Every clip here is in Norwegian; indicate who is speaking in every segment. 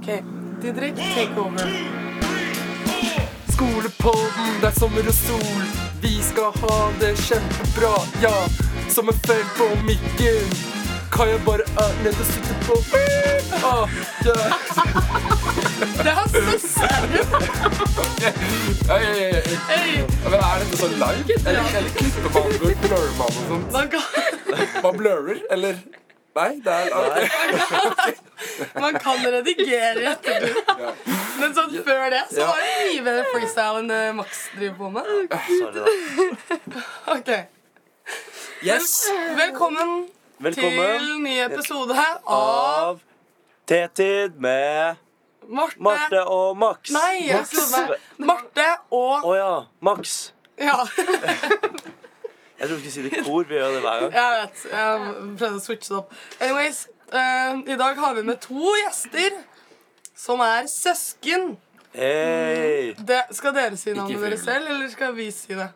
Speaker 1: Ok, Didrik, take over.
Speaker 2: Skolepodden, det er sommer og sol. Vi skal ha det kjempebra, ja. Som en fell på mikken. Kaja bare er nede og sitter på ah, yeah.
Speaker 1: Det er søsteren!
Speaker 2: Ei, ei, ei, ei. Men er dette så live? Eller, eller klipper man bort? Blurrer man og sånt?
Speaker 1: Man kan,
Speaker 2: Man blurrer, eller? Nei, det er
Speaker 1: man kan redigere i ettertid.
Speaker 2: Ja.
Speaker 1: Men sånn før det så
Speaker 2: Ja.
Speaker 1: var det mye bedre freestyle enn det Max driver på med.
Speaker 3: Sorry, da.
Speaker 1: Ok,
Speaker 2: Yes!
Speaker 1: Velkommen til
Speaker 3: Velkommen
Speaker 1: ny episode her av
Speaker 3: av T-tid med
Speaker 1: Marte.
Speaker 3: Marte og Max.
Speaker 1: Nei, jeg
Speaker 3: Max.
Speaker 1: trodde det var- Marte og
Speaker 3: Å ja. Max.
Speaker 1: Ja,
Speaker 3: Jeg tror vi skulle si det i kor. Vi gjør det hver gang.
Speaker 1: jeg vet. Jeg prøvde å switche det opp. Anyways, eh, i dag har vi med to gjester som er søsken.
Speaker 3: Hei!
Speaker 1: Det, skal dere si navnet
Speaker 2: Ikke
Speaker 1: dere
Speaker 2: film.
Speaker 1: selv, eller skal vi si det?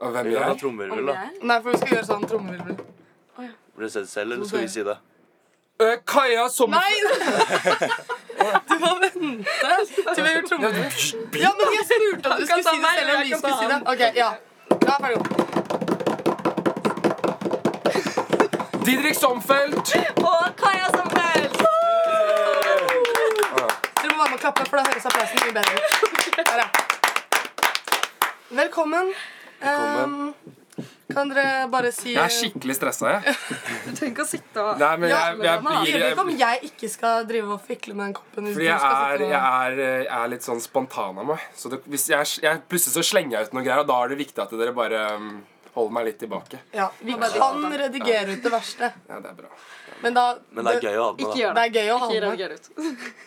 Speaker 2: Og hvem
Speaker 3: Vi kan ha
Speaker 2: gjør det?
Speaker 3: trommevirvel, da.
Speaker 1: Nei, for vi skal gjøre sånn trommevirvel.
Speaker 3: Blir det sett selv, eller skal vi si det?
Speaker 2: Eh, Kaja Sommer...
Speaker 1: Nei! Du må vente til vi har gjort trommevirvel. Ja, men jeg spurte om du skulle si det selv om vi skulle si det. Ok, ja. Ja, ferdig.
Speaker 2: Didrik Somfelt!
Speaker 4: Og Kaja som helst!
Speaker 1: Dere må være med og klappe, for da høres applausen mye bedre ut. Der, ja. Velkommen.
Speaker 3: Velkommen.
Speaker 1: Ehm, kan dere bare si
Speaker 2: Jeg er skikkelig stressa, jeg.
Speaker 4: Du trenger ikke å sitte og
Speaker 2: Nei, men jeg, jeg
Speaker 1: Jeg
Speaker 2: blir
Speaker 1: vet ikke om jeg ikke skal drive og fikle med den koppen. hvis
Speaker 2: Fordi
Speaker 1: du
Speaker 2: jeg
Speaker 1: skal
Speaker 2: er,
Speaker 1: sitte og-
Speaker 2: jeg, er, jeg er litt sånn spontan av meg. Så det, hvis jeg, jeg Plutselig så slenger jeg ut noe greier, og da er det viktig at dere bare um, holder meg litt tilbake.
Speaker 1: ja, Vi kan redigere ut det verste,
Speaker 2: Ja, det er bra.
Speaker 1: men da
Speaker 3: Men det er gøy å ha den,
Speaker 4: Ikke
Speaker 3: da.
Speaker 4: gjør
Speaker 1: Det
Speaker 4: det.
Speaker 1: er gøy å ha
Speaker 4: Ikke
Speaker 1: med.
Speaker 4: rediger ut.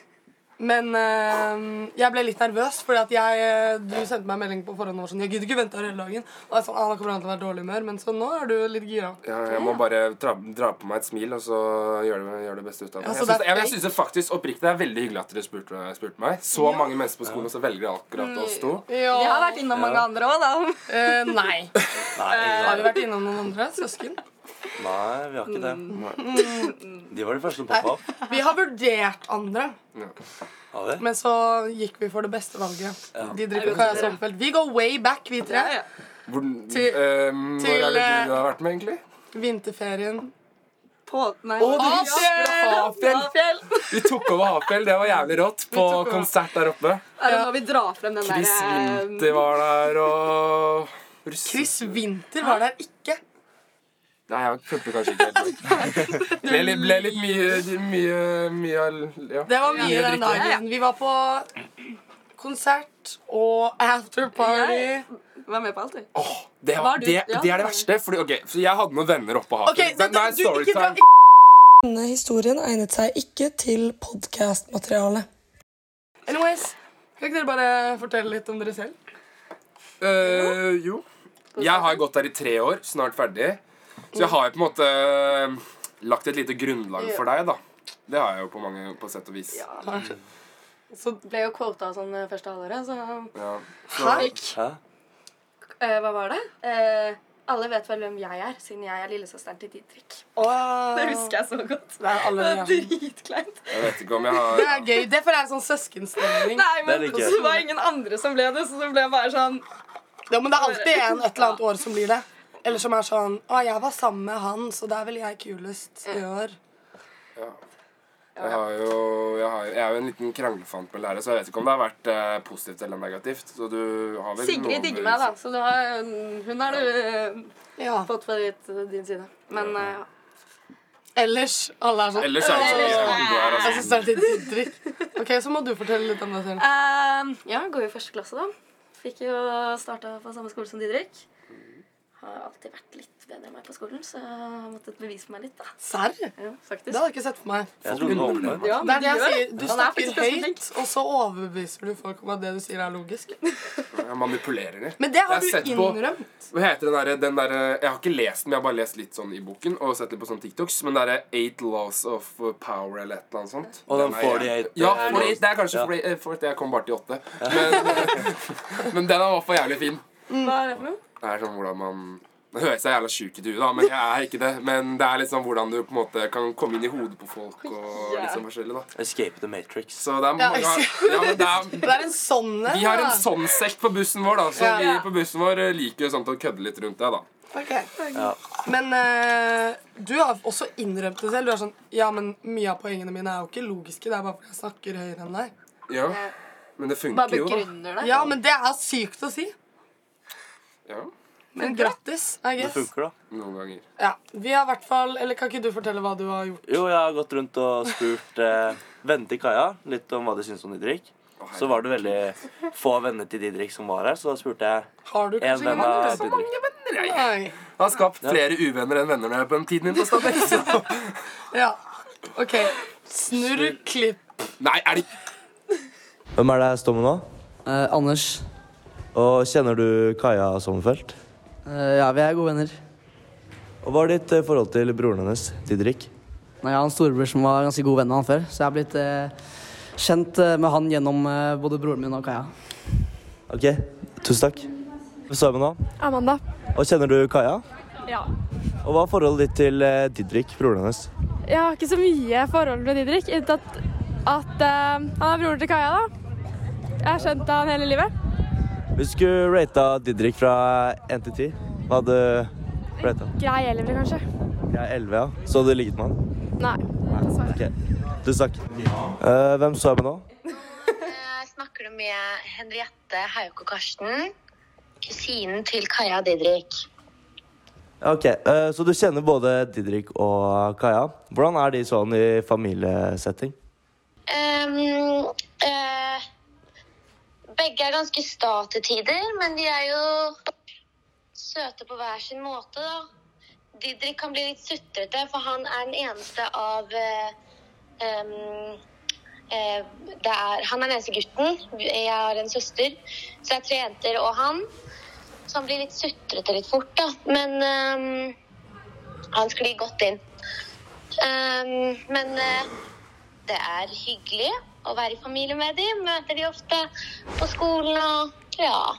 Speaker 1: Men eh, jeg ble litt nervøs, fordi at jeg, eh, du sendte meg en melding på forhånd og var sånn Jeg gidder ikke vente her hele dagen. Og jeg sånn, ah, da kommer han til å være dårlig humør. Men så nå er du litt gira.
Speaker 2: Ja, jeg må bare dra, dra på meg et smil, og så gjøre det, gjør det beste ut av det.
Speaker 1: Ja, så
Speaker 2: Jeg
Speaker 1: det
Speaker 2: syns,
Speaker 1: er
Speaker 2: jeg, jeg
Speaker 1: fake?
Speaker 2: synes det faktisk oppriktig det er veldig hyggelig at dere spurte, spurte meg. Så mange mennesker på skolen, og så velger dere akkurat oss to.
Speaker 1: Ja.
Speaker 4: Jeg har vært innom mange andre òg, da.
Speaker 1: Eh, nei.
Speaker 3: Nei,
Speaker 1: Har vi
Speaker 3: ingen-
Speaker 1: vært innom noen andre? Søsken?
Speaker 3: nei, vi har ikke det. De var de første som poppa opp.
Speaker 1: Vi har vurdert andre,
Speaker 3: Har vi?
Speaker 1: men så gikk vi for det beste valget.
Speaker 3: Ja.
Speaker 1: De driver Kaja Sommerfeld. Vi går way back, vi tre.
Speaker 2: Hvor,
Speaker 1: Til-
Speaker 2: um, hvor
Speaker 1: til,
Speaker 2: er det
Speaker 1: eh,
Speaker 2: du har vært med, egentlig?
Speaker 1: Vinterferien.
Speaker 4: På Nei.
Speaker 2: Å, du husker Hafjell!
Speaker 4: Hafjell!
Speaker 2: Vi tok over Hafjell, det var jævlig rått. På
Speaker 1: tok over. eh,
Speaker 2: konsert der oppe.
Speaker 4: Er det når vi drar frem den eh,
Speaker 2: Chris
Speaker 4: derre
Speaker 2: Winther var der, og Russ-
Speaker 1: Chris Winther var der ikke.
Speaker 2: Nei, jeg fulgte kanskje ikke helt med. Ble litt, ble litt mye, mye, mye al- ja.
Speaker 1: Det var mye
Speaker 2: Mye
Speaker 1: den
Speaker 2: drikke.
Speaker 1: dagen. Vi var på konsert og afterparty.
Speaker 4: Vær med på alt, du.
Speaker 2: Åh, det, var,
Speaker 4: Var du-
Speaker 2: det,
Speaker 4: ja.
Speaker 2: det er det verste. Fordi, ok, så jeg hadde noen venner oppe på Haken.
Speaker 1: Ok,
Speaker 2: Men
Speaker 1: dette-
Speaker 2: nei,
Speaker 1: du, ikke dra-
Speaker 2: storytime.
Speaker 1: Denne historien egnet seg ikke til podkastmateriale. Anyways, kan ikke dere bare fortelle litt om dere selv?
Speaker 2: Eh, jo. Jeg har gått der i tre år, snart ferdig. Så jeg har jo på en måte eh, lagt et lite grunnlag for deg, da. Det har jeg jo på mange på sett og vis. Ja.
Speaker 1: Så,
Speaker 4: Ble jo quota sånn eh, første halvåret, så
Speaker 2: Så,
Speaker 3: Hæ?
Speaker 4: Eh, Hva var det? Eh, alle vet vel hvem jeg er, siden jeg er lillesøsteren til Didrik. Det husker jeg så godt.
Speaker 1: Det er alle
Speaker 4: Det er dritkleint.
Speaker 2: jeg vet ikke om jeg
Speaker 1: Det
Speaker 2: har
Speaker 1: er gøy. Det føler jeg er sånn søskenstemning.
Speaker 4: Nei, men
Speaker 3: Det er litt gøy.
Speaker 4: det var ingen andre som ble det, så det ble bare sånn
Speaker 1: Ja, men det er alltid en et eller annet år som blir det. Eller som er sånn Å, jeg var sammen med han, så der vil jeg kulest i år.
Speaker 2: Jeg, har jo, jeg, har, jeg er jo en liten kranglefant med lærere, så jeg vet ikke om det har vært eh, positivt eller negativt. Så du har vel
Speaker 4: Sigrid
Speaker 2: noen
Speaker 4: digger meg, da,
Speaker 2: bevis.
Speaker 4: så du har, hun har du eh,
Speaker 1: Ja.
Speaker 4: fått fra ditt, din side. Men eh, ja.
Speaker 1: Ellers alle er sånn
Speaker 2: Ellers er det ikke så mye
Speaker 4: Ellers-
Speaker 2: om du er,
Speaker 1: Jeg
Speaker 2: altså.
Speaker 1: synes det er litt dritt. Ok, så må du fortelle litt om deg selv.
Speaker 4: Ehm, ja, går jo i første klasse, da. Fikk jo starta på samme skole som Didrik. Har alltid vært litt bedre enn meg på skolen, så jeg har måttet bevise meg litt, da.
Speaker 1: Serr? Det
Speaker 4: Ja, faktisk.
Speaker 1: hadde jeg ikke sett for meg.
Speaker 3: Jeg trodde du var med.
Speaker 4: Ja,
Speaker 1: Det
Speaker 4: men
Speaker 1: er det jeg
Speaker 4: gjør
Speaker 1: sier. Du
Speaker 4: Han er
Speaker 1: snakker
Speaker 4: faktisk ganske
Speaker 1: høyt, og så overbeviser du folk om at det du sier, er logisk.
Speaker 2: Jeg manipulerer litt.
Speaker 1: Men det har
Speaker 2: Jeg
Speaker 1: du
Speaker 2: har sett på-
Speaker 1: innrømt.
Speaker 2: Hva heter den derre den derre- Jeg har ikke lest den, jeg har bare lest litt sånn i boken og sett litt på sånne TikToks. Men det er Eight Laws of Power eller et eller annet sånt.
Speaker 3: Og den
Speaker 2: er jeg-
Speaker 3: 48,
Speaker 2: Ja,
Speaker 3: eh,
Speaker 2: 48, det er kanskje
Speaker 3: Ja.
Speaker 2: fordi eh, for at jeg kom bare til åtte. eh, Men, men den er i hvert fall jævlig fin.
Speaker 4: Hva er det for noe?
Speaker 2: Det er sånn hvordan man Nå høres jeg jævla sjuk ut i huet, da, men jeg er ikke det. Men det er liksom hvordan du på en måte kan komme inn i hodet på folk og liksom forskjellig, da.
Speaker 3: Escape the Matrix.
Speaker 2: Så det er mange
Speaker 1: Ja,
Speaker 2: ja, men det er,
Speaker 1: Det er en sånn en.
Speaker 2: Vi har en
Speaker 1: da.
Speaker 2: sånn sekk på bussen vår, da, så
Speaker 1: Ja.
Speaker 2: vi på bussen vår eh, liker jo sånt å kødde litt rundt det, da.
Speaker 1: Ok.
Speaker 3: Ja.
Speaker 1: Men eh, du har også innrømt det selv. Du er sånn Ja, men mye av poengene mine er jo ikke logiske. Det er bare fordi jeg snakker høyere enn deg.
Speaker 2: Ja, men det
Speaker 4: Bare
Speaker 2: funker jo, da.
Speaker 4: begrunner det.
Speaker 1: Ja, men det er sykt å si.
Speaker 2: Ja,
Speaker 1: Men grattis, I
Speaker 3: Det
Speaker 1: guess.
Speaker 3: funker, da.
Speaker 2: noen ganger.
Speaker 1: Ja, vi har i hvert fall Eller kan ikke du fortelle hva du har gjort?
Speaker 3: Jo, jeg har gått rundt og spurt eh, venner til Kaja litt om hva de syns om Didrik. Så var det veldig få venner til Didrik som var her, så da spurte jeg
Speaker 1: Har du
Speaker 3: en
Speaker 1: kanskje
Speaker 3: venn
Speaker 1: venner,
Speaker 3: av
Speaker 1: du?
Speaker 3: Didrik.
Speaker 1: Nei.
Speaker 2: Jeg har skapt flere uvenner enn venner når jeg er på den tiden min på Stabekk. så-
Speaker 1: Ja. OK. Snurr klipp.
Speaker 2: Nei, er det
Speaker 3: Hvem er det jeg står med nå?
Speaker 5: Eh, Anders.
Speaker 3: Og kjenner du Kaja Sommerfelt?
Speaker 5: Eh, ja, vi er gode venner.
Speaker 3: Og hva er ditt eh, forhold til broren hennes, Didrik?
Speaker 5: Nei, Jeg har en storebror som var ganske god venn med han før, så jeg har blitt eh, kjent eh, med han gjennom eh, både broren min og Kaja.
Speaker 3: Ok, tusen takk. Hvem står jeg med nå?
Speaker 6: Amanda.
Speaker 3: Og kjenner du Kaja?
Speaker 6: Ja.
Speaker 3: Og hva er forholdet ditt til eh, Didrik, broren hennes?
Speaker 6: Jeg har ikke så mye forhold med Didrik, unntatt at eh, han er broren til Kaja, da. Jeg har skjønt han hele livet.
Speaker 3: Hvis du skulle rata Didrik fra 1 til 10, hva hadde du rata?
Speaker 6: Grei elleve, kanskje.
Speaker 3: Jeg er 11, ja. Så hadde du ligget med han?
Speaker 6: Nei. dessverre.
Speaker 3: Ok, tusen takk. Eh, hvem står jeg med nå?
Speaker 7: Eh, Snakker du med Henriette Hauk og Karsten, kusinen til Kaja og Didrik?
Speaker 3: Ok, eh, så du kjenner både Didrik og Kaja. Hvordan er de sånn i familiesetting?
Speaker 7: Ehm, eh, begge er ganske sta til tider, men de er jo søte på hver sin måte, da. Didrik kan bli litt sutrete, for han er den eneste av eh, ehm, eh, det er, Han er den eneste gutten. Jeg har en søster, så det er tre jenter og han. Så han blir litt sutrete litt fort, da. Men ehm, han sklir godt inn. Ehm, men eh, det er hyggelig å være i familie med dem. Møter de ofte på skolen og ja.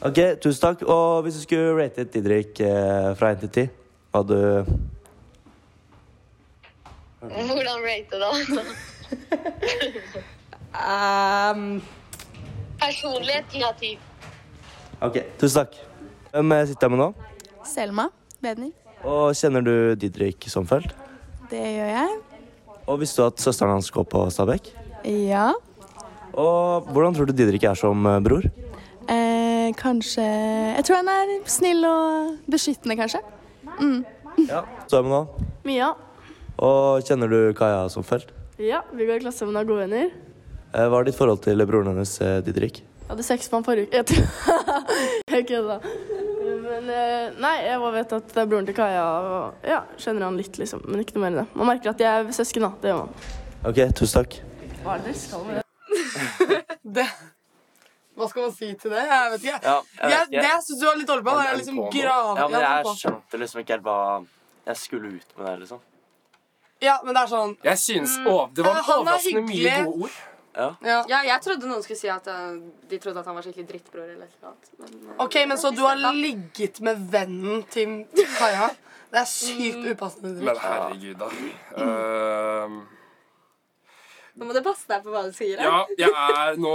Speaker 3: Ok, tusen takk. Og hvis du skulle rate Didrik eh, fra 1 til 10, hva hadde du
Speaker 7: Hvordan rate da?
Speaker 1: Ehm,
Speaker 7: Personlighet ti av ti.
Speaker 3: Ok, tusen takk. Hvem eh, sitter jeg med nå?
Speaker 8: Selma Bedning.
Speaker 3: Og kjenner du Didrik Sommerfeld?
Speaker 8: Det gjør jeg.
Speaker 3: Og visste du at søsteren hans går på Stabekk?
Speaker 8: Ja.
Speaker 3: Og hvordan tror du Didrik er som eh, bror?
Speaker 8: Eh, kanskje Jeg tror han er snill og beskyttende, kanskje.
Speaker 3: Ja. Står jeg med nå?
Speaker 6: Mia.
Speaker 3: Og kjenner du Kaja Sommerfeld?
Speaker 6: Ja, vi går i klasse med noen gode venner.
Speaker 3: Eh, Hva er ditt forhold til broren hennes, eh, Didrik?
Speaker 6: Jeg hadde sex med han forrige uke. Jeg tror- Jeg kødda. Men eh, nei, jeg bare vet at det er broren til Kaja. Og, ja, Skjønner han litt, liksom. Men ikke noe mer enn det. Man merker at de er søsken, da. Det gjør man.
Speaker 3: Ok, tusen takk.
Speaker 6: Hva er det dere skal med det?
Speaker 1: det Hva skal man si til det? Jeg vet ikke.
Speaker 9: Ja, jeg
Speaker 1: Jeg,
Speaker 9: vet
Speaker 1: det
Speaker 9: ikke.
Speaker 1: jeg syns du var litt dårlig på, var liksom
Speaker 2: Ja, men
Speaker 1: grav...
Speaker 9: Ja, men
Speaker 1: Ja,
Speaker 9: jeg
Speaker 1: på.
Speaker 9: skjønte liksom ikke helt hva jeg skulle ut med det, liksom.
Speaker 1: ja, men det er sånn
Speaker 2: Jeg synes å, Det var
Speaker 1: Eh, han er
Speaker 2: overraskende mye
Speaker 1: hyggelig.
Speaker 2: gode ord.
Speaker 1: ja.
Speaker 4: Ja, jeg trodde noen skulle si at eh, de trodde at han var skikkelig drittbror eller et eller annet. Men, eh,
Speaker 1: OK, men så du har ligget med vennen til Kaja? Det er sykt
Speaker 4: Mm.
Speaker 1: upassende. Didrik.
Speaker 2: Men herregud, da. Ehm,
Speaker 4: Nå må du passe deg på hva du sier.
Speaker 2: ja, jeg er nå,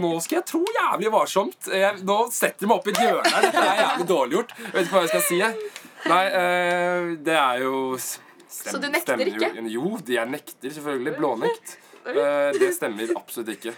Speaker 2: nå skal jeg tro jævlig varsomt. Jeg, nå setter de meg opp i et hjørne her. Dette er jævlig dårlig gjort. Jeg vet ikke hva jeg skal si. Jeg. Nei, eh, det er jo s- stem,
Speaker 4: Så du nekter
Speaker 2: stemmer jo-
Speaker 4: ikke?
Speaker 2: Jo, jeg nekter selvfølgelig. Blånekt. Eh, det stemmer absolutt ikke.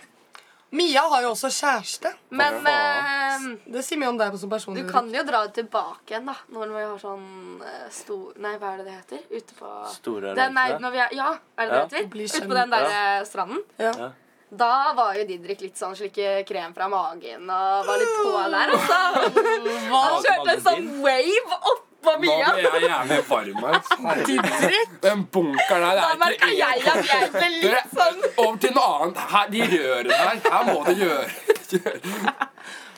Speaker 1: Mia har jo også kjæreste.
Speaker 4: Men eh,
Speaker 1: Det sier mye om deg som person.
Speaker 4: du
Speaker 1: Didrik.
Speaker 4: kan jo dra det tilbake igjen, da. Når vi har sånn eh, stor Nei, hva er det det heter? Ute på
Speaker 9: Store
Speaker 4: den, nei,
Speaker 9: reisene.
Speaker 4: når vi er, Ja, er det det
Speaker 1: Bli
Speaker 4: heter? Ute
Speaker 1: kjent.
Speaker 4: på den der eh, stranden.
Speaker 1: Ja.
Speaker 9: Ja.
Speaker 4: Da var jo Didrik litt sånn slikke krem fra magen og var litt på der, altså. Han kjørte en sånn wave oppå
Speaker 2: Nå
Speaker 4: Mia.
Speaker 2: ble jeg jævlig varm her. Herregud. Den bunkeren her
Speaker 4: Da
Speaker 2: er
Speaker 4: merka
Speaker 2: ikke
Speaker 4: jeg at jeg ble
Speaker 2: Dere,
Speaker 4: litt sånn
Speaker 2: Over til noe annet. Her, de rørene her. Her må det gjøre.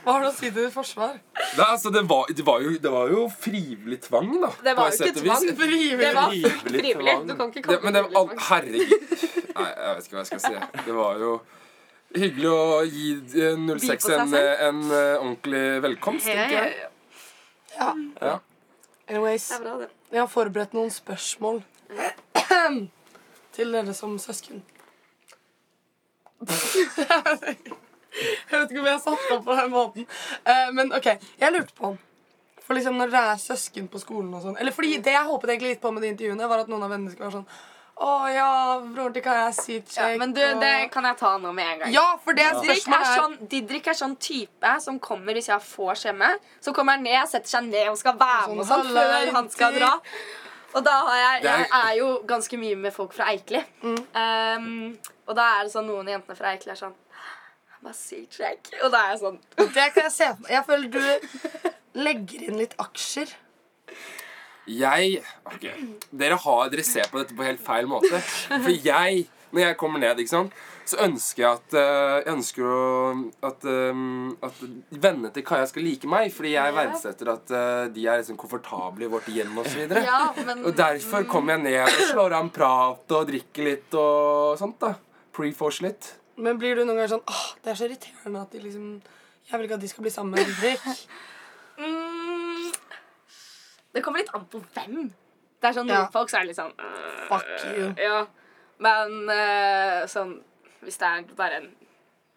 Speaker 1: Hva har du å si til ditt forsvar?
Speaker 2: Nei, altså, det, var, det, var jo, det var jo frivillig tvang, da.
Speaker 4: Det var
Speaker 2: på
Speaker 4: jo ikke
Speaker 2: et sett og vis.
Speaker 4: tvang. Det var frivillig. Du kan ikke
Speaker 2: Det,
Speaker 4: kalle
Speaker 2: men det
Speaker 4: det
Speaker 2: var,
Speaker 4: frivillig.
Speaker 2: herregud. Nei, jeg vet ikke hva jeg skal si. Det var jo hyggelig å gi eh,
Speaker 4: By på
Speaker 2: 06
Speaker 4: seg
Speaker 2: en,
Speaker 4: selv.
Speaker 2: en eh, ordentlig velkomst.
Speaker 4: Ja,
Speaker 2: tenker
Speaker 4: ja,
Speaker 2: jeg.
Speaker 4: ja.
Speaker 1: Ja.
Speaker 2: Ja.
Speaker 1: Anyways,
Speaker 4: Det er bra, det.
Speaker 1: jeg har forberedt noen spørsmål til dere som søsken. jeg vet ikke om jeg satte opp på den måten. Eh, men OK, jeg lurte på For liksom når dere er søsken på skolen og sånn Eller fordi det jeg håpet egentlig litt på med de intervjuene, var at noen av vennene skulle være sånn Å ja, broren til Kaja er sykt kjekk.
Speaker 10: Ja, men du,
Speaker 1: og-
Speaker 10: det kan jeg ta nå med en gang.
Speaker 1: ja, for det
Speaker 10: Didrik er,
Speaker 1: spørsmålet er
Speaker 10: sånn, Didrik er sånn type som kommer hvis jeg har vors hjemme. Så kommer han ned, setter seg ned og skal være med og sånn
Speaker 1: Sånn, «Halla,
Speaker 10: før han skal
Speaker 1: jenter!»
Speaker 10: dra. Og da har jeg,
Speaker 2: Det er-
Speaker 10: jeg er jo ganske mye med folk fra Eikli. Um, og da er det sånn noen av jentene fra Eikli er sånn «Han var sykt kjekk. Og da er jeg sånn
Speaker 1: Det kan jeg se for meg. Jeg føler du legger inn litt aksjer.
Speaker 2: Jeg ok, Dere, har, dere ser på dette på helt feil måte. For jeg, når jeg kommer ned, ikke sant, så ønsker jeg at eh, Jeg ønsker å, at, eh, at vennene til Kaja skal like meg. Fordi jeg verdsetter at eh, de er liksom komfortable i vårt hjem osv.
Speaker 10: Ja, men
Speaker 2: Og derfor kommer jeg ned og slår av en prat og drikker litt og sånt. da Pre-force litt.
Speaker 1: Men blir du noen ganger sånn Åh, det er så irriterende at de liksom Jeg vil ikke at de skal bli sammen med Henrik.
Speaker 10: mm, Det kommer litt an på hvem. Det er sånn
Speaker 1: Ja.
Speaker 10: Noen folk så er det litt sånn «Øh,
Speaker 1: Fuck you.
Speaker 10: Ja, men eh, sånn Hvis det er bare en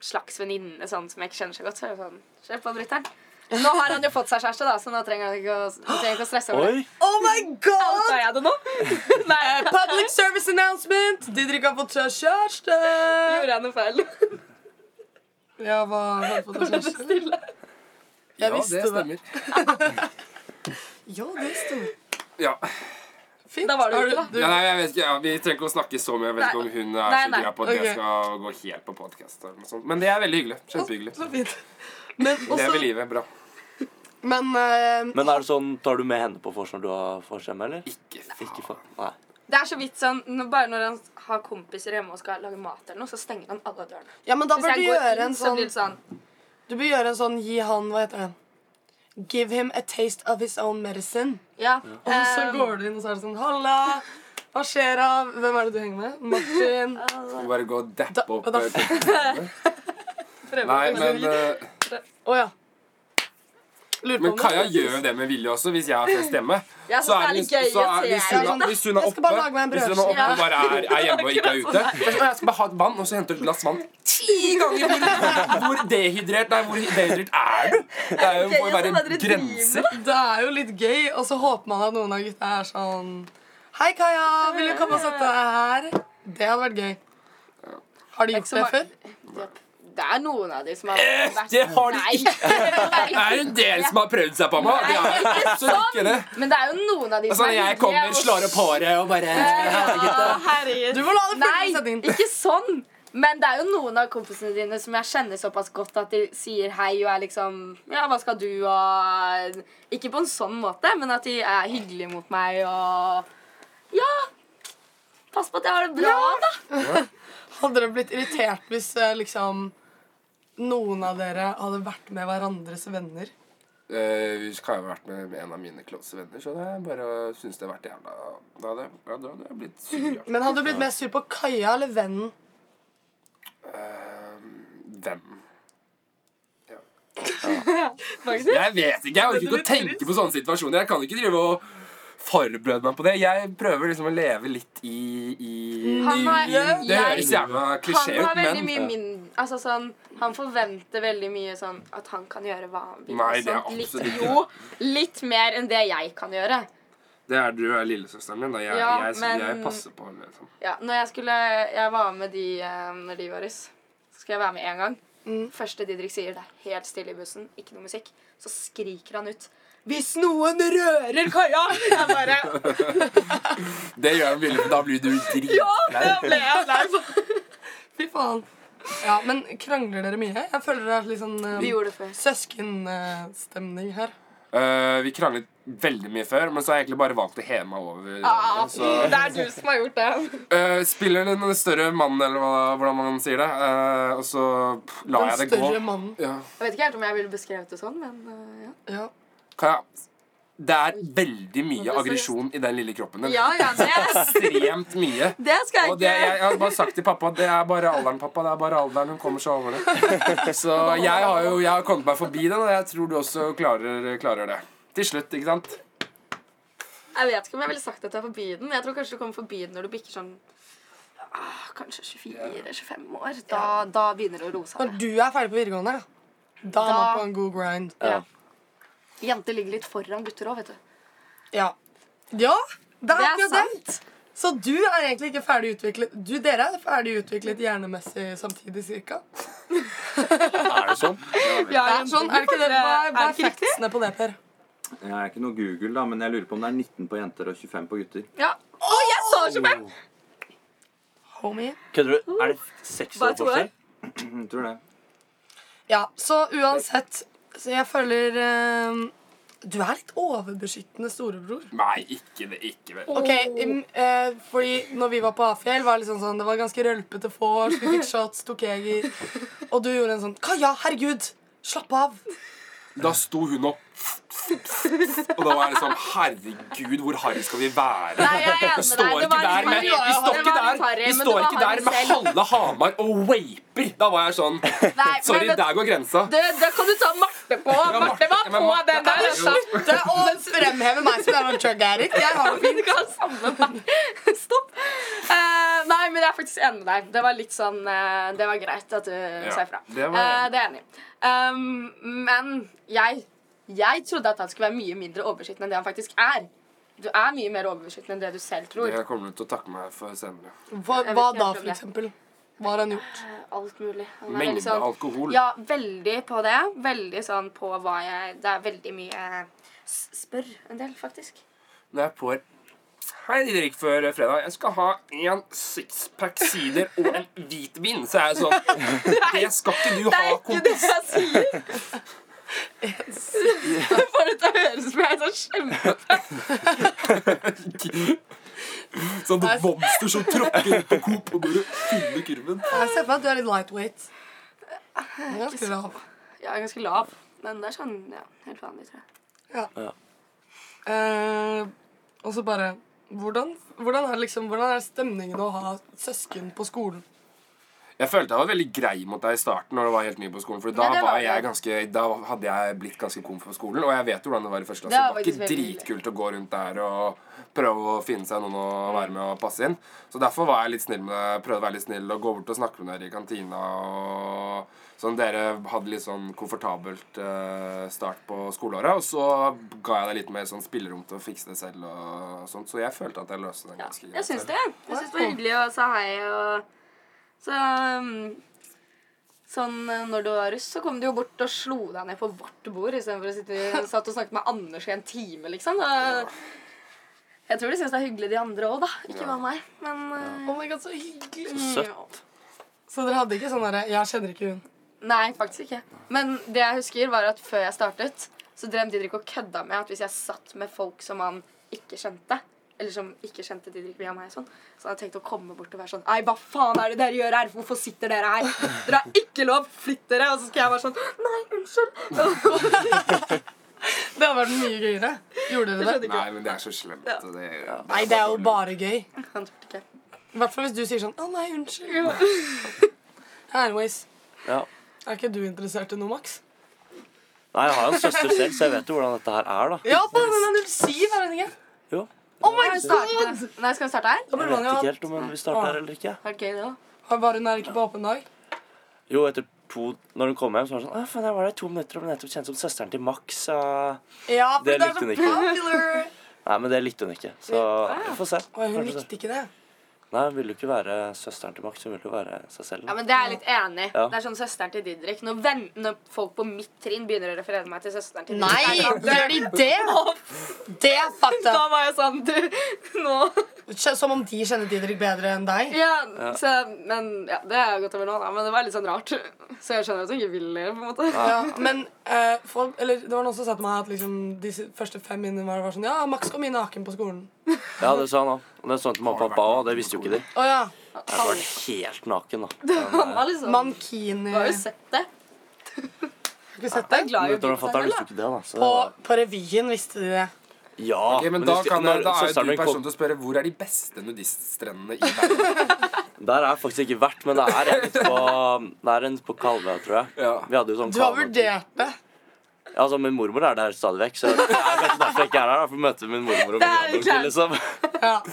Speaker 10: slags venninne sånn, som jeg ikke kjenner så godt, så er det sånn Kjør på, brutter'n. Nå har han jo fått seg kjæreste, da, så nå trenger han ikke å, han trenger ikke å stresse over det.
Speaker 3: Oi!
Speaker 1: Oh my
Speaker 10: Sa
Speaker 1: god!
Speaker 10: jeg det nå? Nei,
Speaker 1: Public service announcement! Didrik har fått seg kjæreste!
Speaker 10: gjorde jeg noe feil?
Speaker 1: Ja, hva har du fått deg kjæreste?
Speaker 2: Ja, det
Speaker 1: visste det.
Speaker 2: stemmer.
Speaker 1: Ja, det sto
Speaker 2: Ja.
Speaker 1: fint.
Speaker 10: Da var det
Speaker 1: Har
Speaker 10: jo ikke,
Speaker 1: du-
Speaker 2: Ja, nei, jeg vet ikke, ja, Vi trenger ikke å snakke så mye. Jeg vet ikke om hun er
Speaker 10: Nei,
Speaker 2: så
Speaker 10: nei,
Speaker 2: gira på at
Speaker 1: ok.
Speaker 2: jeg skal gå helt på podkast. Men det er veldig hyggelig. Kjempehyggelig.
Speaker 1: Så fint. Men
Speaker 2: Lever
Speaker 1: også
Speaker 2: livet bra.
Speaker 1: Men eh,
Speaker 3: Men er det sånn, tar du med henne på vors når du har vors hjemme, eller?
Speaker 2: Ikke faen.
Speaker 3: Ikke for, nei.
Speaker 10: Det er så vidt sånn n- Bare når han har kompiser hjemme og skal lage mat eller noe, så stenger han alle dørene.
Speaker 1: Ja, men da
Speaker 10: Hvis
Speaker 1: bør du
Speaker 10: jeg går
Speaker 1: gjøre
Speaker 10: inn,
Speaker 1: en
Speaker 10: så blir
Speaker 1: sånn
Speaker 10: det sånn
Speaker 1: Du bør gjøre en sånn gi han Hva heter det? Give him a taste of his own medicine.
Speaker 10: Ja.
Speaker 1: Og så
Speaker 10: ehm,
Speaker 1: går du inn, og så er det sånn Halla! Hva skjer av Hvem er det du henger med? Martin?
Speaker 2: Skal bare gå og dappe opp
Speaker 1: Da- da-
Speaker 2: eh, Nei, men, eh,
Speaker 1: Å ja. Lurer på
Speaker 2: men
Speaker 1: om
Speaker 2: Kaja
Speaker 1: det-
Speaker 2: gjør jo det med vilje også, hvis jeg har fest hjemme.
Speaker 10: Ja, så det er litt gøy
Speaker 2: så
Speaker 10: å
Speaker 2: er,
Speaker 10: se. sånn.
Speaker 2: hvis, hun, er- hvis hun er
Speaker 1: Jeg skal
Speaker 2: oppe
Speaker 1: bare lage meg en
Speaker 2: Hvis hun er oppe
Speaker 10: brødskive.
Speaker 2: og bare er, er hjemme og ikke er ute så er det sånn, Jeg skal bare ha et vann, og så henter du et glass vann ti ganger! Hvor, hvor dehydrert Nei, hvor dehydrert er du? Det er jo, må jo
Speaker 10: Gøy at
Speaker 2: være
Speaker 10: dere
Speaker 2: grenser.
Speaker 1: Det er jo litt gøy, og så håper man at noen av gutta er sånn Hei, Kaja. Vil du komme og sette deg her? Det hadde vært gøy. Har du gjort
Speaker 10: så
Speaker 1: det
Speaker 10: ma-
Speaker 1: før?
Speaker 10: Det er noen av de som har vært
Speaker 2: Eh, Det har de
Speaker 10: Nei.
Speaker 2: Det er en del som har prøvd seg på meg. Det er absolutt
Speaker 10: sånn.
Speaker 2: ikke det.
Speaker 10: Men det er jo noen av de
Speaker 2: Altså, når jeg kommer, slår opp håret og bare «Hei, gutta».
Speaker 10: Herregud.
Speaker 1: Du må la det fullføre
Speaker 10: Nei,
Speaker 1: setningen.
Speaker 10: ikke sånn. Men det er jo noen av kompisene dine som jeg kjenner såpass godt at de sier hei og er liksom Ja, hva skal du og Ikke på en sånn måte, men at de er hyggelige mot meg og Ja! Pass på at jeg har det bra, da.
Speaker 1: Hadde dere blitt irritert hvis eh, liksom noen av dere hadde vært med hverandres venner?
Speaker 2: Eh, Vi kan jo ha vært med, med en av mine close venner, så det er bare syns det har vært jævla Da hadde jeg- ja, da hadde jeg blitt sur. ja.
Speaker 1: Men hadde du blitt mer sur på Kaja eller vennen?
Speaker 2: Eh, Hvem? Ja. Jeg vet ikke. Jeg orker ikke å tenke på sånne situasjoner. Jeg kan ikke drive og forberede meg på det. Jeg prøver liksom å leve litt i, i, i,
Speaker 10: Han har-
Speaker 2: i Det høres
Speaker 10: jeg-
Speaker 2: jævla klisjé
Speaker 10: Han
Speaker 2: ut,
Speaker 10: har veldig
Speaker 2: men
Speaker 10: mye min, altså sånn, han forventer veldig mye sånn at han kan gjøre hva han vil.
Speaker 2: Nei,
Speaker 10: og
Speaker 2: det er
Speaker 10: sånt.
Speaker 2: absolutt
Speaker 10: litt,
Speaker 2: ikke.
Speaker 10: Jo, litt mer enn det jeg kan gjøre.
Speaker 2: det er du er lillesøsteren min. Da. Jeg,
Speaker 10: Ja,
Speaker 2: jeg, jeg,
Speaker 10: men-
Speaker 2: passer på. Liksom.
Speaker 10: Ja, når jeg skulle, jeg var med de eh, når de var russ, så skulle jeg være med en gang. Første Didrik sier, det er helt stille i bussen, ikke noe musikk, så skriker han ut. Hvis noen rører Kaja! Jeg bare,
Speaker 2: Det gjør jeg villig, for da blir du dritflau.
Speaker 10: ja, det ble jeg lei på.
Speaker 1: Fy faen. Ja, men krangler dere mye? Jeg føler det er litt sånn eh,
Speaker 10: Vi gjorde det før.
Speaker 1: søskenstemning her.
Speaker 2: Eh, vi kranglet veldig mye før, men så har jeg egentlig bare valgt å heve meg over. eh,
Speaker 10: Ah,
Speaker 2: så,
Speaker 10: det er du som har gjort det.
Speaker 2: eh, spiller den større mannen, eller hva, hvordan man sier det, eh, og så pff, lar
Speaker 1: Den
Speaker 2: jeg det gå.
Speaker 1: større mannen.
Speaker 2: Ja.
Speaker 10: Jeg vet ikke helt om jeg ville beskrevet det sånn, men eh, ja.
Speaker 1: Ja.
Speaker 2: Kaja, det er veldig mye
Speaker 10: Hvorfor
Speaker 2: aggresjon i den lille kroppen din.
Speaker 10: Ja, ja, det,
Speaker 2: Ekstremt mye.
Speaker 10: det skal jeg
Speaker 2: Og det, jeg,
Speaker 10: ikke.
Speaker 2: jeg har bare sagt til pappa at det er bare alderen, pappa. Det er bare alderen. Hun kommer seg over det. Så jeg har jo jeg har kommet meg forbi den, og jeg tror du også klarer, klarer det. til slutt, ikke sant?
Speaker 10: Jeg vet ikke om jeg ville sagt at du er forbi den, men jeg tror kanskje du kommer forbi den når du bikker sånn ah, Kanskje 24-25 år. Da, da begynner det å roe seg.
Speaker 1: Når du er ferdig på videregående, da er
Speaker 10: Da-
Speaker 1: man på en god grind.
Speaker 10: Ja. Jenter ligger litt foran gutter òg, vet du.
Speaker 1: Ja. Ja, det er
Speaker 10: Det er
Speaker 1: akkurat det. Så du er egentlig ikke ferdig utviklet Du, Dere er ferdig utviklet hjernemessig samtidig, cirka.
Speaker 2: Er det sånn?
Speaker 1: Ja, det er sånn, er det ikke det? Hva er, hva
Speaker 10: Er
Speaker 1: er
Speaker 10: det ikke riktig?
Speaker 1: factsene på det, Per?
Speaker 11: Jeg er ikke noe Google, da, men jeg lurer på om det er 19 på jenter og 25 på gutter.
Speaker 10: Ja. Å, jeg sa 25!
Speaker 1: Homie.
Speaker 3: Kødder du? Er det seks
Speaker 1: Bare
Speaker 3: år
Speaker 1: to år?
Speaker 3: forskjell?
Speaker 11: Jeg tror det.
Speaker 1: Ja, så uansett Så jeg føler eh, Du er litt overbeskyttende storebror.
Speaker 2: Nei, ikke det. Ikke vel.
Speaker 1: Ok, im, eh, fordi når vi var på Afjell, var det liksom sånn Det var ganske rølpete vors, vi fikk shots, tok jeger. Og du gjorde en sånn Kaja, herregud! Slapp av!
Speaker 2: Da sto hun opp. Og da var jeg liksom Herregud, hvor harry skal vi være?
Speaker 10: Nei, jeg er enig med
Speaker 2: vi står ikke der
Speaker 10: deg. Det var litt
Speaker 2: med, vi står ikke der,
Speaker 10: harry. Det var litt harry,
Speaker 2: vi
Speaker 10: men
Speaker 2: står
Speaker 10: det var
Speaker 2: ikke der
Speaker 10: harry
Speaker 2: med
Speaker 10: selv.
Speaker 2: halve Hamar og vaper. Da var jeg sånn
Speaker 10: Nei,
Speaker 2: Sorry,
Speaker 10: men-
Speaker 2: der går grensa.
Speaker 10: Det, det Eh, kan du ta Marte på. Marte var
Speaker 2: men
Speaker 10: på
Speaker 2: Marte
Speaker 10: den der.
Speaker 2: er jo-
Speaker 1: Slutte å fremheve meg som en drug addict. Jeg har det
Speaker 10: Du kan samle meg. Stopp. Eh, nei, men jeg er faktisk enig med deg. Det var litt sånn eh, Det var greit at du sa ifra.
Speaker 1: det var jeg
Speaker 10: Eh, det er jeg enig i. Um, men jeg, jeg trodde at han skulle være mye mindre overbeskyttende enn det han faktisk er. Du er mye mer overbeskyttende enn det du selv tror.
Speaker 2: Det kommer du til å takke meg for senere.
Speaker 1: Hva,
Speaker 10: Jeg vet
Speaker 1: hva
Speaker 10: ikke
Speaker 1: da,
Speaker 10: helt om
Speaker 1: for
Speaker 10: det.
Speaker 1: eksempel? Hva har han gjort?
Speaker 10: Eh, Alt mulig. Han er
Speaker 2: Mengde
Speaker 10: veldig sånn-
Speaker 2: alkohol.
Speaker 10: Ja, veldig på det. Veldig sånn på hva jeg Det er veldig mye s- Spør en del, faktisk.
Speaker 2: Når jeg får Hei, Didrik, før fredag. Jeg skal ha en sixpack sider og en hvitvin. Så er jeg sånn Det skal ikke du ha, kompis.
Speaker 10: Det får det til å høres ut som jeg er sånn kjempe...
Speaker 2: Sånn et monster som tråkker ut på Coop og bare fyller kurven.
Speaker 1: Jeg ser for meg at du er litt lightweight. Eh, Du er Ganske lav.
Speaker 10: Jeg er ganske lav. Men det er sånn ja, helt vanlig, tror jeg.
Speaker 1: Eh, og så bare hvordan, hvordan, er liksom, hvordan er stemningen å ha søsken på skolen?
Speaker 2: Jeg følte jeg var veldig grei mot deg i starten når du var helt ny på skolen. For da,
Speaker 1: Ja, det var
Speaker 2: var
Speaker 1: det.
Speaker 2: jeg ganske, da hadde jeg blitt ganske komf på skolen. Og jeg vet jo hvordan det var i første klasse.
Speaker 1: Det
Speaker 2: Det
Speaker 1: var
Speaker 2: var
Speaker 1: faktisk
Speaker 2: ikke
Speaker 1: veldig
Speaker 2: dritkult å gå rundt der og prøve å finne seg noen å være med og passe inn. Så derfor var jeg litt snill med deg, prøvde å være litt snill og gå bort og snakke med dere i kantina. og Sånn dere hadde litt sånn komfortabelt eh, start på skoleåret. Og så ga jeg deg litt mer sånn spillerom til å fikse det selv og sånt. Så jeg følte at jeg løste den ganske greit.
Speaker 10: Jeg syns
Speaker 1: sånn?
Speaker 2: selv.
Speaker 10: det. Jeg syns det var hyggelig å si hei og Så um, Sånn eh, når du var russ, så kom du jo bort og slo deg ned på vårt bord istedenfor å sitte satt og snakke med Anders i en time, liksom. Da, jeg tror de syns det er hyggelig, de andre òg, da. Ikke
Speaker 1: Ja.
Speaker 10: bare meg. Men eh,
Speaker 1: Oh my god, så hyggelig.
Speaker 10: Så
Speaker 1: Så dere hadde ikke sånn derre Jeg kjenner ikke hun.
Speaker 10: Nei, faktisk ikke. Men det jeg husker, var at før jeg startet, så drev Didrik og kødda med at hvis jeg satt med folk som han ikke kjente eller som ikke kjente Didrik via meg. og sånn Så hadde jeg tenkt å komme bort og være sånn Ei, hva faen er det dere gjør her? Hvorfor sitter dere her? Dere har ikke lov! Flytt dere! Og så skal jeg være sånn Nei, unnskyld!
Speaker 1: Det hadde vært mye gøyere. Gjorde dere det?
Speaker 2: Nei, men det er så slemt. og Det,
Speaker 1: Nei, det er jo bare gøy.
Speaker 10: Han turte ikke.
Speaker 1: I hvert fall hvis du sier sånn 'Å nei, unnskyld'. Anyways,
Speaker 3: Ja.
Speaker 1: er ikke du interessert i noe, Max?
Speaker 3: Nei, jeg har jo en søster selv, så jeg vet jo hvordan dette her er, da.
Speaker 1: Ja, faen, den er 07, er den ikke?
Speaker 3: Jo.
Speaker 1: Oh my
Speaker 10: Skal vi
Speaker 1: god!
Speaker 10: starte? Nei, skal vi starte
Speaker 1: Da
Speaker 10: her?
Speaker 3: Jeg
Speaker 1: burde
Speaker 3: vet
Speaker 1: man jo
Speaker 3: ikke
Speaker 1: hatt
Speaker 3: helt om vi starter her eller ikke.
Speaker 10: Var det gøy, det òg?
Speaker 1: Var hun her ikke på åpen dag?
Speaker 3: Jo, etter to Når hun kom hjem, så var det sånn Å, faen, jeg var der i to minutter og ble nettopp kjent som søsteren til Max. så-
Speaker 1: Ja, for
Speaker 3: Det
Speaker 1: det,
Speaker 3: likte hun
Speaker 1: er så
Speaker 3: ikke.
Speaker 1: popular.
Speaker 3: Nei, men det likte hun ikke. Så vi får se.
Speaker 1: Oi, hun
Speaker 3: Kanskje se.
Speaker 1: likte ikke det.
Speaker 3: Nei, hun ville jo ikke være søsteren til Max, hun ville jo være seg selv.
Speaker 10: Ja, men Det er jeg litt enig i.
Speaker 3: Ja.
Speaker 10: Det er sånn søsteren til Didrik. Når, venn, når folk på mitt trinn begynner å referere meg til søsteren til
Speaker 1: Nei,
Speaker 10: Didrik
Speaker 1: gjør de det? Det er fucked
Speaker 10: Da
Speaker 1: up.
Speaker 10: var jeg sånn Du, nå
Speaker 1: Kje- Som om de kjenner Didrik bedre enn deg.
Speaker 10: ja, Så, men, ja, Det er jo gått over nå, da. Men det var litt sånn rart. Så jeg skjønner at hun ikke vil det. på en måte
Speaker 1: Ja, men eh, folk, eller, det var noen som sa til meg at liksom, de s- første fem minnene var, var sånn Ja, Max kom inn naken på skolen.
Speaker 3: Ja, det sa han òg. Og det sa han til mamma og pappa òg, det visste jo ikke de.
Speaker 1: Å ja.
Speaker 3: Jeg var helt naken, da.
Speaker 10: Han var liksom
Speaker 1: Mankini.
Speaker 10: Du har jo sett det.
Speaker 1: Har du sett det?
Speaker 10: Glad i
Speaker 3: Men når
Speaker 10: å bli
Speaker 3: han fatter'n visste jo ikke det, da. Så det
Speaker 1: På,
Speaker 3: var,
Speaker 1: på revyen visste de det.
Speaker 3: ja.
Speaker 2: Ok, men,
Speaker 3: men
Speaker 2: da,
Speaker 3: husker-
Speaker 2: kan
Speaker 3: når
Speaker 2: jeg, da er
Speaker 3: søsteren
Speaker 2: jo
Speaker 3: min
Speaker 2: du
Speaker 3: kom-
Speaker 2: personen til å spørre hvor er de beste nudiststrendene i verden.
Speaker 3: Der har jeg faktisk ikke vært, men det er en på, det er en på Kalvøya, tror jeg. Vi hadde jo sånn
Speaker 1: Du har
Speaker 3: Kalvøya-
Speaker 1: vurdert det.
Speaker 3: Altså, min mormor er der stadig vekk, så det er kanskje derfor jeg ikke er her. da, For å møte min mormor og
Speaker 10: Det
Speaker 3: min
Speaker 10: er
Speaker 3: onkel,
Speaker 10: klart.
Speaker 3: liksom.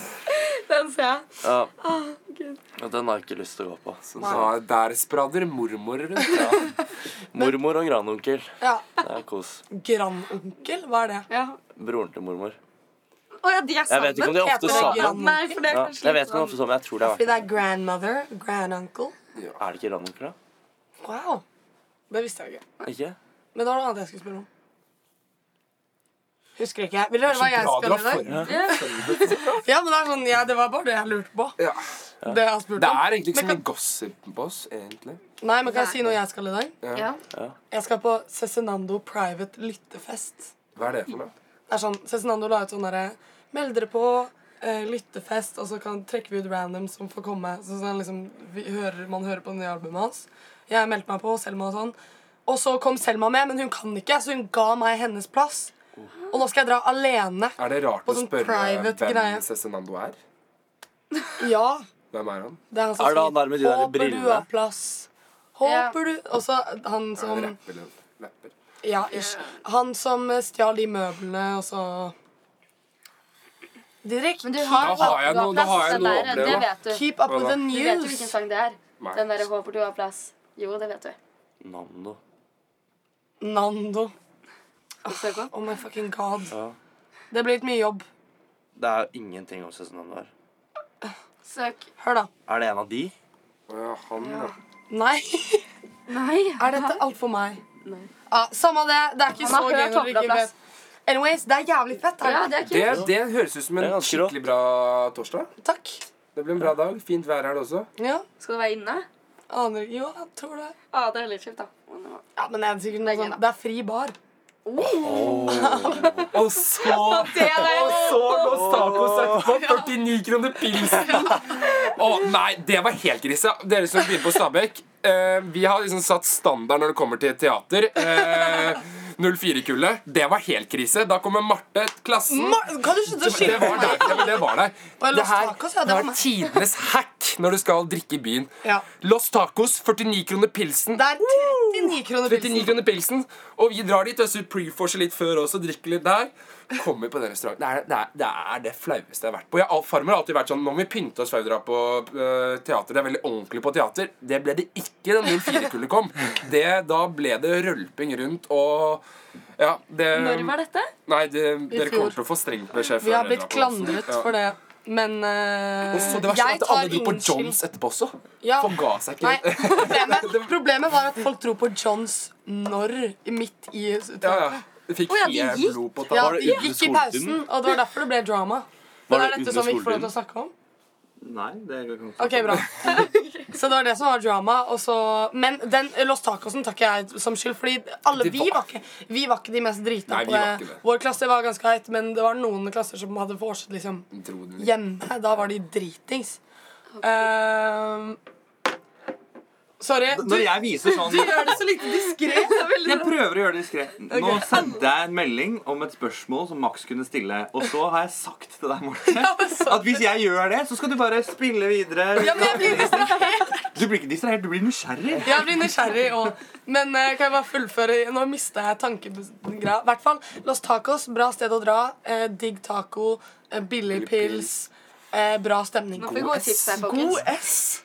Speaker 10: Den ser jeg.
Speaker 3: Ja,
Speaker 10: Åh, Gud.
Speaker 3: og Den har jeg ikke lyst til å gå på.
Speaker 10: Nei. da
Speaker 3: der sprader mormor rundt. Ja. Mormor og grandonkel.
Speaker 1: Ja.
Speaker 3: Det er kos.
Speaker 1: Grandonkel? Hva er det?
Speaker 10: Ja.
Speaker 3: Broren til mormor.
Speaker 10: Å ja, de er
Speaker 3: Jeg
Speaker 10: sammen.
Speaker 3: vet ikke om de er ofte
Speaker 10: Heter det
Speaker 3: sammen.
Speaker 10: grandonkel? Nei, for det er
Speaker 3: Ja,
Speaker 10: kanskje
Speaker 3: jeg
Speaker 10: litt
Speaker 3: vet ikke om de er ofte sammen, men jeg tror det
Speaker 1: Fordi
Speaker 3: har vært
Speaker 1: det er grandmother, granduncle.
Speaker 3: Er det ikke grandonkel, da?
Speaker 1: Wow. Det visste jeg ikke.
Speaker 3: Ikke?
Speaker 1: Men det var noe annet jeg skulle spørre om. Husker ikke. Vil du høre
Speaker 3: Det er så
Speaker 1: hva jeg skal
Speaker 3: bra dere
Speaker 1: i
Speaker 3: har
Speaker 1: dag? Ja. ja, men det er sånn, ja, det var bare det jeg lurte på.
Speaker 2: Ja.
Speaker 1: Det jeg har spurt
Speaker 2: Det
Speaker 1: om.
Speaker 2: er egentlig ikke så
Speaker 1: Men
Speaker 2: mye gossip på oss, egentlig.
Speaker 1: kan- Nei, men kan jeg si noe jeg skal i dag?
Speaker 10: sånn-
Speaker 2: Ja. Ja.
Speaker 1: Jeg skal på Cezinando Private Lyttefest.
Speaker 2: Hva er det for noe?
Speaker 1: Det er sånn, Cezinando la ut sånn derre Meld dere på eh, lyttefest, og så kan trekke vi ut random som får komme. Så sånn liksom, vi hører, Man hører på det nye albumet hans. Jeg meldte meg på, Selma og sånn. Og så kom Selma med, men hun kan ikke, så hun ga meg hennes plass. Og nå skal jeg dra alene.
Speaker 2: Er det rart
Speaker 1: På
Speaker 2: å
Speaker 1: sånn
Speaker 2: spørre
Speaker 1: private greie.
Speaker 2: hvem Cezinando er?
Speaker 1: Ja,
Speaker 2: Hvem er han?
Speaker 1: det er han som
Speaker 2: Er det han der med de der
Speaker 1: Håper du
Speaker 2: brillene?"
Speaker 1: har plass. Håper du Og så han som
Speaker 2: Rapper, eller- rapper.
Speaker 1: Sånn- Ja, ish. Han som eh, stjal de møblene, og så Didrik,
Speaker 10: Men du har,
Speaker 1: da har jeg
Speaker 10: du
Speaker 1: noe- da har jeg
Speaker 10: den
Speaker 1: noe å
Speaker 10: der,
Speaker 1: oppleve.
Speaker 10: Det vet du.
Speaker 1: Keep up with the
Speaker 10: Du vet jo
Speaker 1: news.
Speaker 10: hvilken sang det er.
Speaker 1: Nei.
Speaker 10: Den derre 'Håper du har plass'. Jo, det vet du.
Speaker 3: Nando.
Speaker 1: Nando. Oh my fucking god.
Speaker 3: Ja.
Speaker 1: Det blir litt mye jobb.
Speaker 3: Det er jo ingenting om Cezinando her.
Speaker 10: Søk.
Speaker 1: Hør, da.
Speaker 3: Er det en av de?
Speaker 2: Ja, han,
Speaker 1: Ja. Nei. Er dette alt for meg? Nei. Ja, samme det. Det er ikke så
Speaker 10: Han har
Speaker 1: gøy
Speaker 10: hørt
Speaker 1: når dere ikke
Speaker 10: Hovlaplass.
Speaker 1: vet. Anyways, det er jævlig fett. er det ikke?
Speaker 2: det, det høres ut som en skikkelig bra torsdag.
Speaker 1: Takk.
Speaker 2: Det blir en bra dag. Fint vær er det også.
Speaker 1: Ja.
Speaker 10: Skal du være inne?
Speaker 1: Aner ikke. Jo, jeg tror det.
Speaker 10: Ja, Ah, det er litt kjipt, da.
Speaker 1: Ja, men det er sikkert noe sånn. Det er fri bar.
Speaker 2: Og så Og så Los Tacos etterpå. 49 kroner pilsen. Å nei, det var helt grise. Dere som begynner på Stabekk. eh, vi har liksom satt standard når det kommer til teater. Eh, 04-kullet. Det var helt krise. Da kommer Marte, klassen
Speaker 1: Ma- Kan du slutte å
Speaker 2: Det
Speaker 1: skylde på
Speaker 2: var der.
Speaker 1: meg?
Speaker 2: Ja, men det var der.
Speaker 1: Og Los
Speaker 2: Det her-
Speaker 1: Tacos, ja, det
Speaker 2: det
Speaker 1: var
Speaker 2: var
Speaker 1: meg.
Speaker 2: tidenes hack når du skal drikke i byen.
Speaker 1: Ja.
Speaker 2: Los Tacos, 49 kroner pilsen.
Speaker 1: Det er 39 kroner pilsen.
Speaker 2: 39 kroner pilsen. Og vi drar dit, øser preforser litt før også, drikker litt der. Kommer på den restauranten. Det er det, er, det er det flaueste jeg har vært på. Jeg, har- farmor har alltid vært sånn Nå må vi pynte oss før vi drar på øh, teater. Det er veldig ordentlig på teater. Det ble det ikke da 04-kullet kom. Det, da ble det rølping rundt og Ja, det
Speaker 10: Når var dette?
Speaker 2: Nei, det,
Speaker 1: fjor.
Speaker 2: dere kommer til å få strengt beskjed.
Speaker 1: Vi
Speaker 2: før
Speaker 1: har
Speaker 2: dere
Speaker 1: blitt
Speaker 2: drar på Olsen.
Speaker 1: klandret
Speaker 2: Ja.
Speaker 1: for det. Men eh,
Speaker 2: Og så det var sånn
Speaker 1: jeg
Speaker 2: at
Speaker 1: tar
Speaker 2: alle dro på
Speaker 1: ingen skyld.
Speaker 2: Johns etterpå også.
Speaker 1: Ja.
Speaker 2: Forga seg ikke.
Speaker 1: Nei, problemet, problemet var at folk dro på Johns når midt i
Speaker 2: Ja, ja. Det fikk
Speaker 1: Å ja, de
Speaker 2: mye
Speaker 1: gikk.
Speaker 2: blod på
Speaker 1: Ja,
Speaker 2: tann.
Speaker 1: de gikk i pausen, og det var derfor det ble drama.
Speaker 11: Var
Speaker 1: Men
Speaker 11: det
Speaker 1: er dette
Speaker 11: under
Speaker 1: som vi ikke får lov til å
Speaker 11: skoletiden?
Speaker 1: snakke om?
Speaker 11: Nei, det kan ikke
Speaker 1: Ok, bra. Så det var det som var drama. Og så, men den Los Tacosen tar ikke jeg som skyld, fordi alle
Speaker 2: Det
Speaker 1: vi var ikke, vi var ikke de mest drita
Speaker 2: Nei,
Speaker 1: på
Speaker 2: vi var ikke
Speaker 1: det.
Speaker 2: det.
Speaker 1: Vår klasse var ganske heit, men det var noen klasser som hadde vorset liksom
Speaker 2: Dro den litt.
Speaker 1: hjemme. Da var de dritings. Ehm, sorry.
Speaker 11: Når jeg viser sånn-
Speaker 1: Du gjør det så lite diskré.
Speaker 11: Jeg prøver å gjøre det diskré. Nå
Speaker 1: Ok.
Speaker 11: sendte jeg en melding om et spørsmål som Max kunne stille. Og så har jeg sagt til deg, Morten, at hvis jeg gjør det, så skal du bare spille videre.
Speaker 1: Ja, men jeg blir distrahert.
Speaker 11: Du blir ikke distrahert, du blir nysgjerrig.
Speaker 1: Jeg blir nysgjerrig òg. Men eh, kan jeg bare fullføre? Nå mista jeg tankegreia. I hvert fall Los Tacos, bra sted å dra. Eh, digg taco, eh, billig pils, eh, bra stemning.
Speaker 10: Nå får vi gode tips her, folkens.
Speaker 1: God S.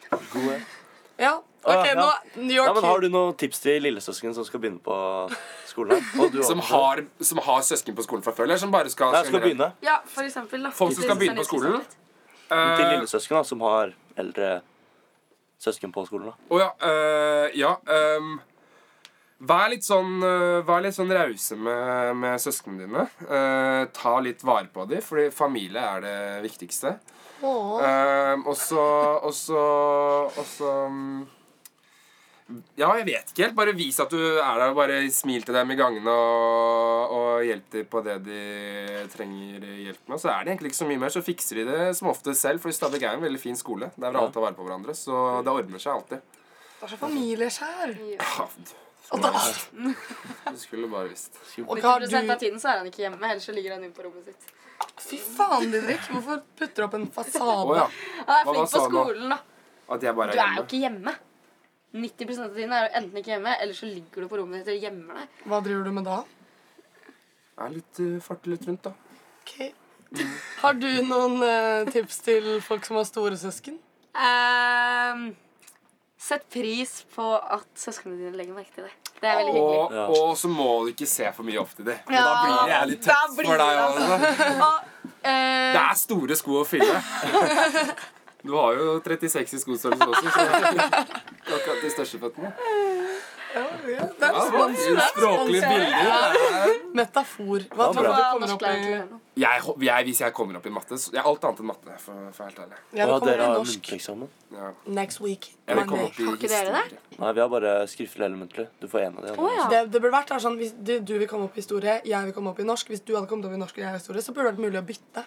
Speaker 1: Ja,
Speaker 3: Ah,
Speaker 1: OK,
Speaker 3: ja.
Speaker 1: nå New York
Speaker 3: ja, men Har du noen tips til lillesøsken som skal begynne på skolen? her? Og du
Speaker 2: Som
Speaker 3: også.
Speaker 2: har, som har søsken på skolen fra før, eller som bare skal,
Speaker 3: Nei, skal
Speaker 2: generelt-
Speaker 3: begynne.
Speaker 10: Ja, for eksempel. da.
Speaker 2: Folk som skal begynne på
Speaker 10: sånn
Speaker 2: skolen?
Speaker 3: Til
Speaker 2: Eh,
Speaker 3: lillesøsken da, som har eldre søsken på skolen. da.
Speaker 2: Å ja. eh, ja ehm, vær litt sånn eh, Vær litt sånn rause med, med søsknene dine. Eh, ta litt vare på dem, fordi familie er det viktigste. Ehm, og så Og så Og så mm, Ja, jeg vet ikke helt. Bare vis at du er der, og bare smil til dem i gangene og, og hjelp dem på det de trenger hjelp med. Så er det egentlig ikke så mye mer, så fikser de det som ofte selv. For Stabekk er en veldig fin skole. Der vil alle ta vare på hverandre. Så det ordner seg alltid.
Speaker 1: Det er så familieskjær.
Speaker 2: Ja,
Speaker 1: Og da-
Speaker 2: Du skulle bare visst.
Speaker 10: 90 av tiden så er han ikke hjemme, ellers så ligger han inne på rommet sitt.
Speaker 1: Fy faen, Didrik. Hvorfor putter du opp en fasade?
Speaker 2: Å, ja.
Speaker 10: Han
Speaker 2: Hva
Speaker 10: er
Speaker 2: var
Speaker 10: flink på
Speaker 2: sa han nå?
Speaker 10: skolen, da.
Speaker 2: At jeg bare
Speaker 10: Du
Speaker 2: er
Speaker 10: er jo
Speaker 2: hjemme.
Speaker 10: ikke hjemme. 90 av tiden er du enten ikke hjemme, eller så ligger du på rommet ditt og gjemmer deg.
Speaker 1: Hva driver du med da?
Speaker 2: er litt uh, farter litt rundt, da.
Speaker 1: Ok. Har du noen eh, tips til folk som har store søsken?
Speaker 4: Ehm, sett pris på at søsknene dine legger merke til det. Det er veldig
Speaker 2: Og,
Speaker 4: hyggelig.
Speaker 2: og så må du ikke se for mye opp til dem. For Da
Speaker 4: Ja.
Speaker 2: blir det jævlig
Speaker 4: Da
Speaker 2: tøft
Speaker 4: blir
Speaker 2: for deg.
Speaker 4: det, altså.
Speaker 2: Altså. Det
Speaker 4: Eh,
Speaker 2: er store sko å fylle. Du har jo 36 i skostørrelse også, så det er ikke akkurat de største føttene.
Speaker 1: Det er
Speaker 2: Ja,
Speaker 1: respons.
Speaker 2: det er språklige bilder.
Speaker 1: Metafor. Hva
Speaker 2: Ja,
Speaker 1: tror du
Speaker 2: bra.
Speaker 1: du kommer opp i?
Speaker 2: Jeg, hå- jeg, hvis jeg kommer opp i matte så, jeg, Alt annet enn matte, for, for helt ærlig.
Speaker 1: Ja, det Ja, kommer dere i har norsk.
Speaker 3: muntlig
Speaker 2: Ja.
Speaker 1: Next week.
Speaker 3: Jeg vil
Speaker 1: Monday.
Speaker 3: komme opp i Har ikke dere det? historie. Nei, vi har bare skriftlig eller muntlig. Du får en av de.
Speaker 1: det, det burde vært da sånn Hvis du, du vil komme opp i historie, jeg vil komme opp i norsk Hvis du hadde kommet opp i norsk og jeg i historie, så burde det vært mulig å bytte.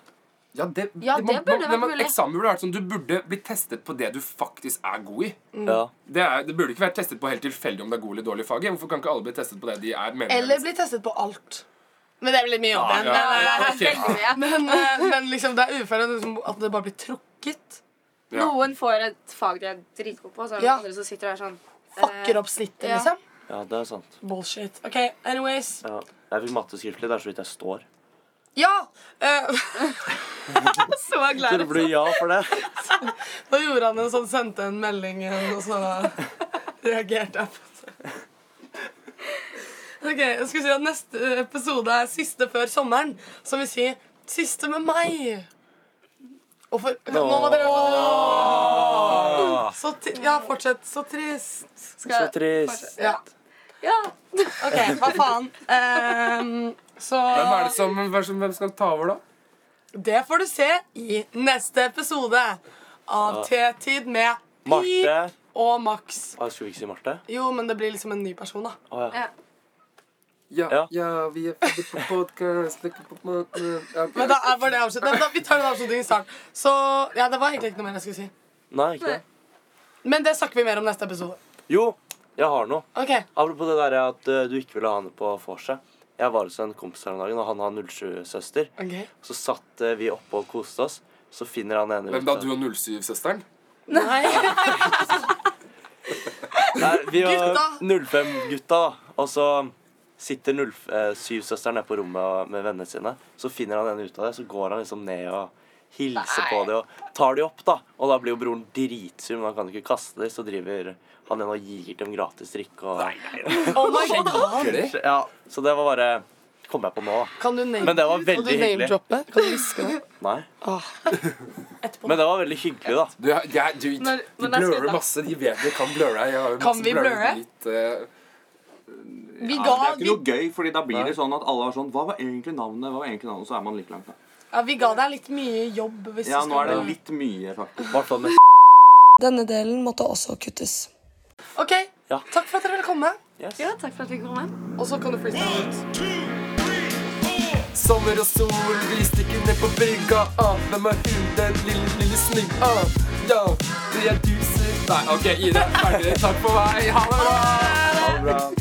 Speaker 2: Ja, det,
Speaker 1: Ja, det
Speaker 2: man-
Speaker 1: burde
Speaker 2: man-
Speaker 1: vært
Speaker 2: man-
Speaker 1: mulig.
Speaker 2: Eksamen burde vært sånn Du burde bli testet på det du faktisk er god i.
Speaker 1: Mm. Ja.
Speaker 2: Det, er, det burde ikke vært testet på helt tilfeldig om det er god eller dårlig fag. i. Hvorfor kan ikke alle bli testet på det de er mener?
Speaker 1: Eller bli testet på alt. Men det blir litt mye jobb
Speaker 2: Ja,
Speaker 1: igjen.
Speaker 2: ja,
Speaker 1: Men,
Speaker 2: ok.
Speaker 1: eh, Men, eh, men liksom, det er uføre liksom, at det bare blir trukket.
Speaker 2: Ja.
Speaker 10: Noen får et fag de er dritgode på, og så er det
Speaker 1: Ja.
Speaker 10: andre som sitter der sånn
Speaker 1: Fucker opp snittet,
Speaker 10: ja.
Speaker 1: liksom.
Speaker 3: Ja, det er sant.
Speaker 1: Bullshit. OK, anyways.
Speaker 3: Ja. Jeg fikk matte skriftlig. Det er så vidt jeg står.
Speaker 1: Ja! eh, så
Speaker 3: Så
Speaker 1: glad
Speaker 3: det blir ja for det.
Speaker 1: Da gjorde han en sånn, sendte en melding igjen, og så reagerte jeg på det. Ok, jeg skulle si at Neste episode er siste før sommeren, som vil si siste med meg. Og for, nå må dere så ti, Ja, fortsett. Så trist.
Speaker 3: Så trist.
Speaker 1: Ja. OK, hva faen. Ehm, så
Speaker 2: Hvem er det som, hvem som hvem skal ta over, da?
Speaker 1: Det får du se i neste episode av
Speaker 3: Ja.
Speaker 1: T-tid med
Speaker 3: Marte.
Speaker 1: og Max.
Speaker 3: Ah, skulle vi ikke si Marte?
Speaker 1: Jo, men det blir liksom en ny person, da.
Speaker 3: Å ja.
Speaker 2: Ja, ja, vi er på podkast
Speaker 1: Men da er bare det avslutningen. Men da- Vi tar den avslutningen i starten. Så ja, det var egentlig ikke noe mer jeg skulle si.
Speaker 3: Nei, ikke det.
Speaker 1: Men det snakker vi mer om neste episode.
Speaker 3: Jo, jeg har noe.
Speaker 1: Ok,
Speaker 3: Apropos det der at eh, du ikke ville ha henne på vorset. Jeg var hos en kompis her om dagen, og han har 07-søster.
Speaker 1: ok.
Speaker 3: Så satt eh, vi oppe og koste oss. Så finner han ene
Speaker 2: Hvem da? Du og 07-søsteren?
Speaker 3: Nei, vi var
Speaker 2: Gutta!
Speaker 3: 05-gutta, da. Og så sitter 07-søsteren nede på rommet og- med vennene sine. Så finner han ene ut av det, så går han liksom ned og hilser på dem og tar de opp, da. Og da blir jo broren dritsur, men han kan ikke kaste dem, så driver han ene og gir dem gratis drikke og
Speaker 1: Oh my god.
Speaker 3: Ja, så det var bare Kom jeg på nå.
Speaker 1: Kan du name-
Speaker 3: Men det var
Speaker 1: kan
Speaker 3: veldig
Speaker 1: du
Speaker 3: hyggelig.
Speaker 1: name-droppe? Kan du huske det?
Speaker 3: Nei. Men det var veldig hyggelig, da.
Speaker 2: Du, er- jeg, du,
Speaker 1: Når- når
Speaker 2: de
Speaker 1: er
Speaker 2: blurrer
Speaker 1: slutt, da?
Speaker 2: masse. De vet de kan blurre. Jeg har jo
Speaker 1: Kan
Speaker 2: masse
Speaker 1: vi
Speaker 2: blurret
Speaker 1: blurre?
Speaker 2: Litt, eh,
Speaker 1: Vi
Speaker 11: Ja,
Speaker 1: ga,
Speaker 11: men det er
Speaker 1: vi,
Speaker 11: ikke noe gøy, fordi da blir det sånn at alle er sånn Hva var egentlig navnet? Hva var egentlig navnet? Så er man like langt. Da.
Speaker 1: ja, vi ga deg litt mye jobb. Hvis
Speaker 11: Ja, nå
Speaker 1: du skal
Speaker 11: er det
Speaker 1: være-
Speaker 11: litt mye, faktisk.
Speaker 1: Denne delen måtte også kuttes. OK. Takk for at dere ville komme.
Speaker 4: ja, takk for at vi kom hjem.
Speaker 1: Og så kan du freestyle ut.
Speaker 2: Sommer og sol, vi stikker ned på brygga. Ah, hvem er hun, den lille, lille snygg? Ah, ja, det er du som Nei, OK, Ida. Ferdig. Takk for meg. Ha det bra. Ha det bra.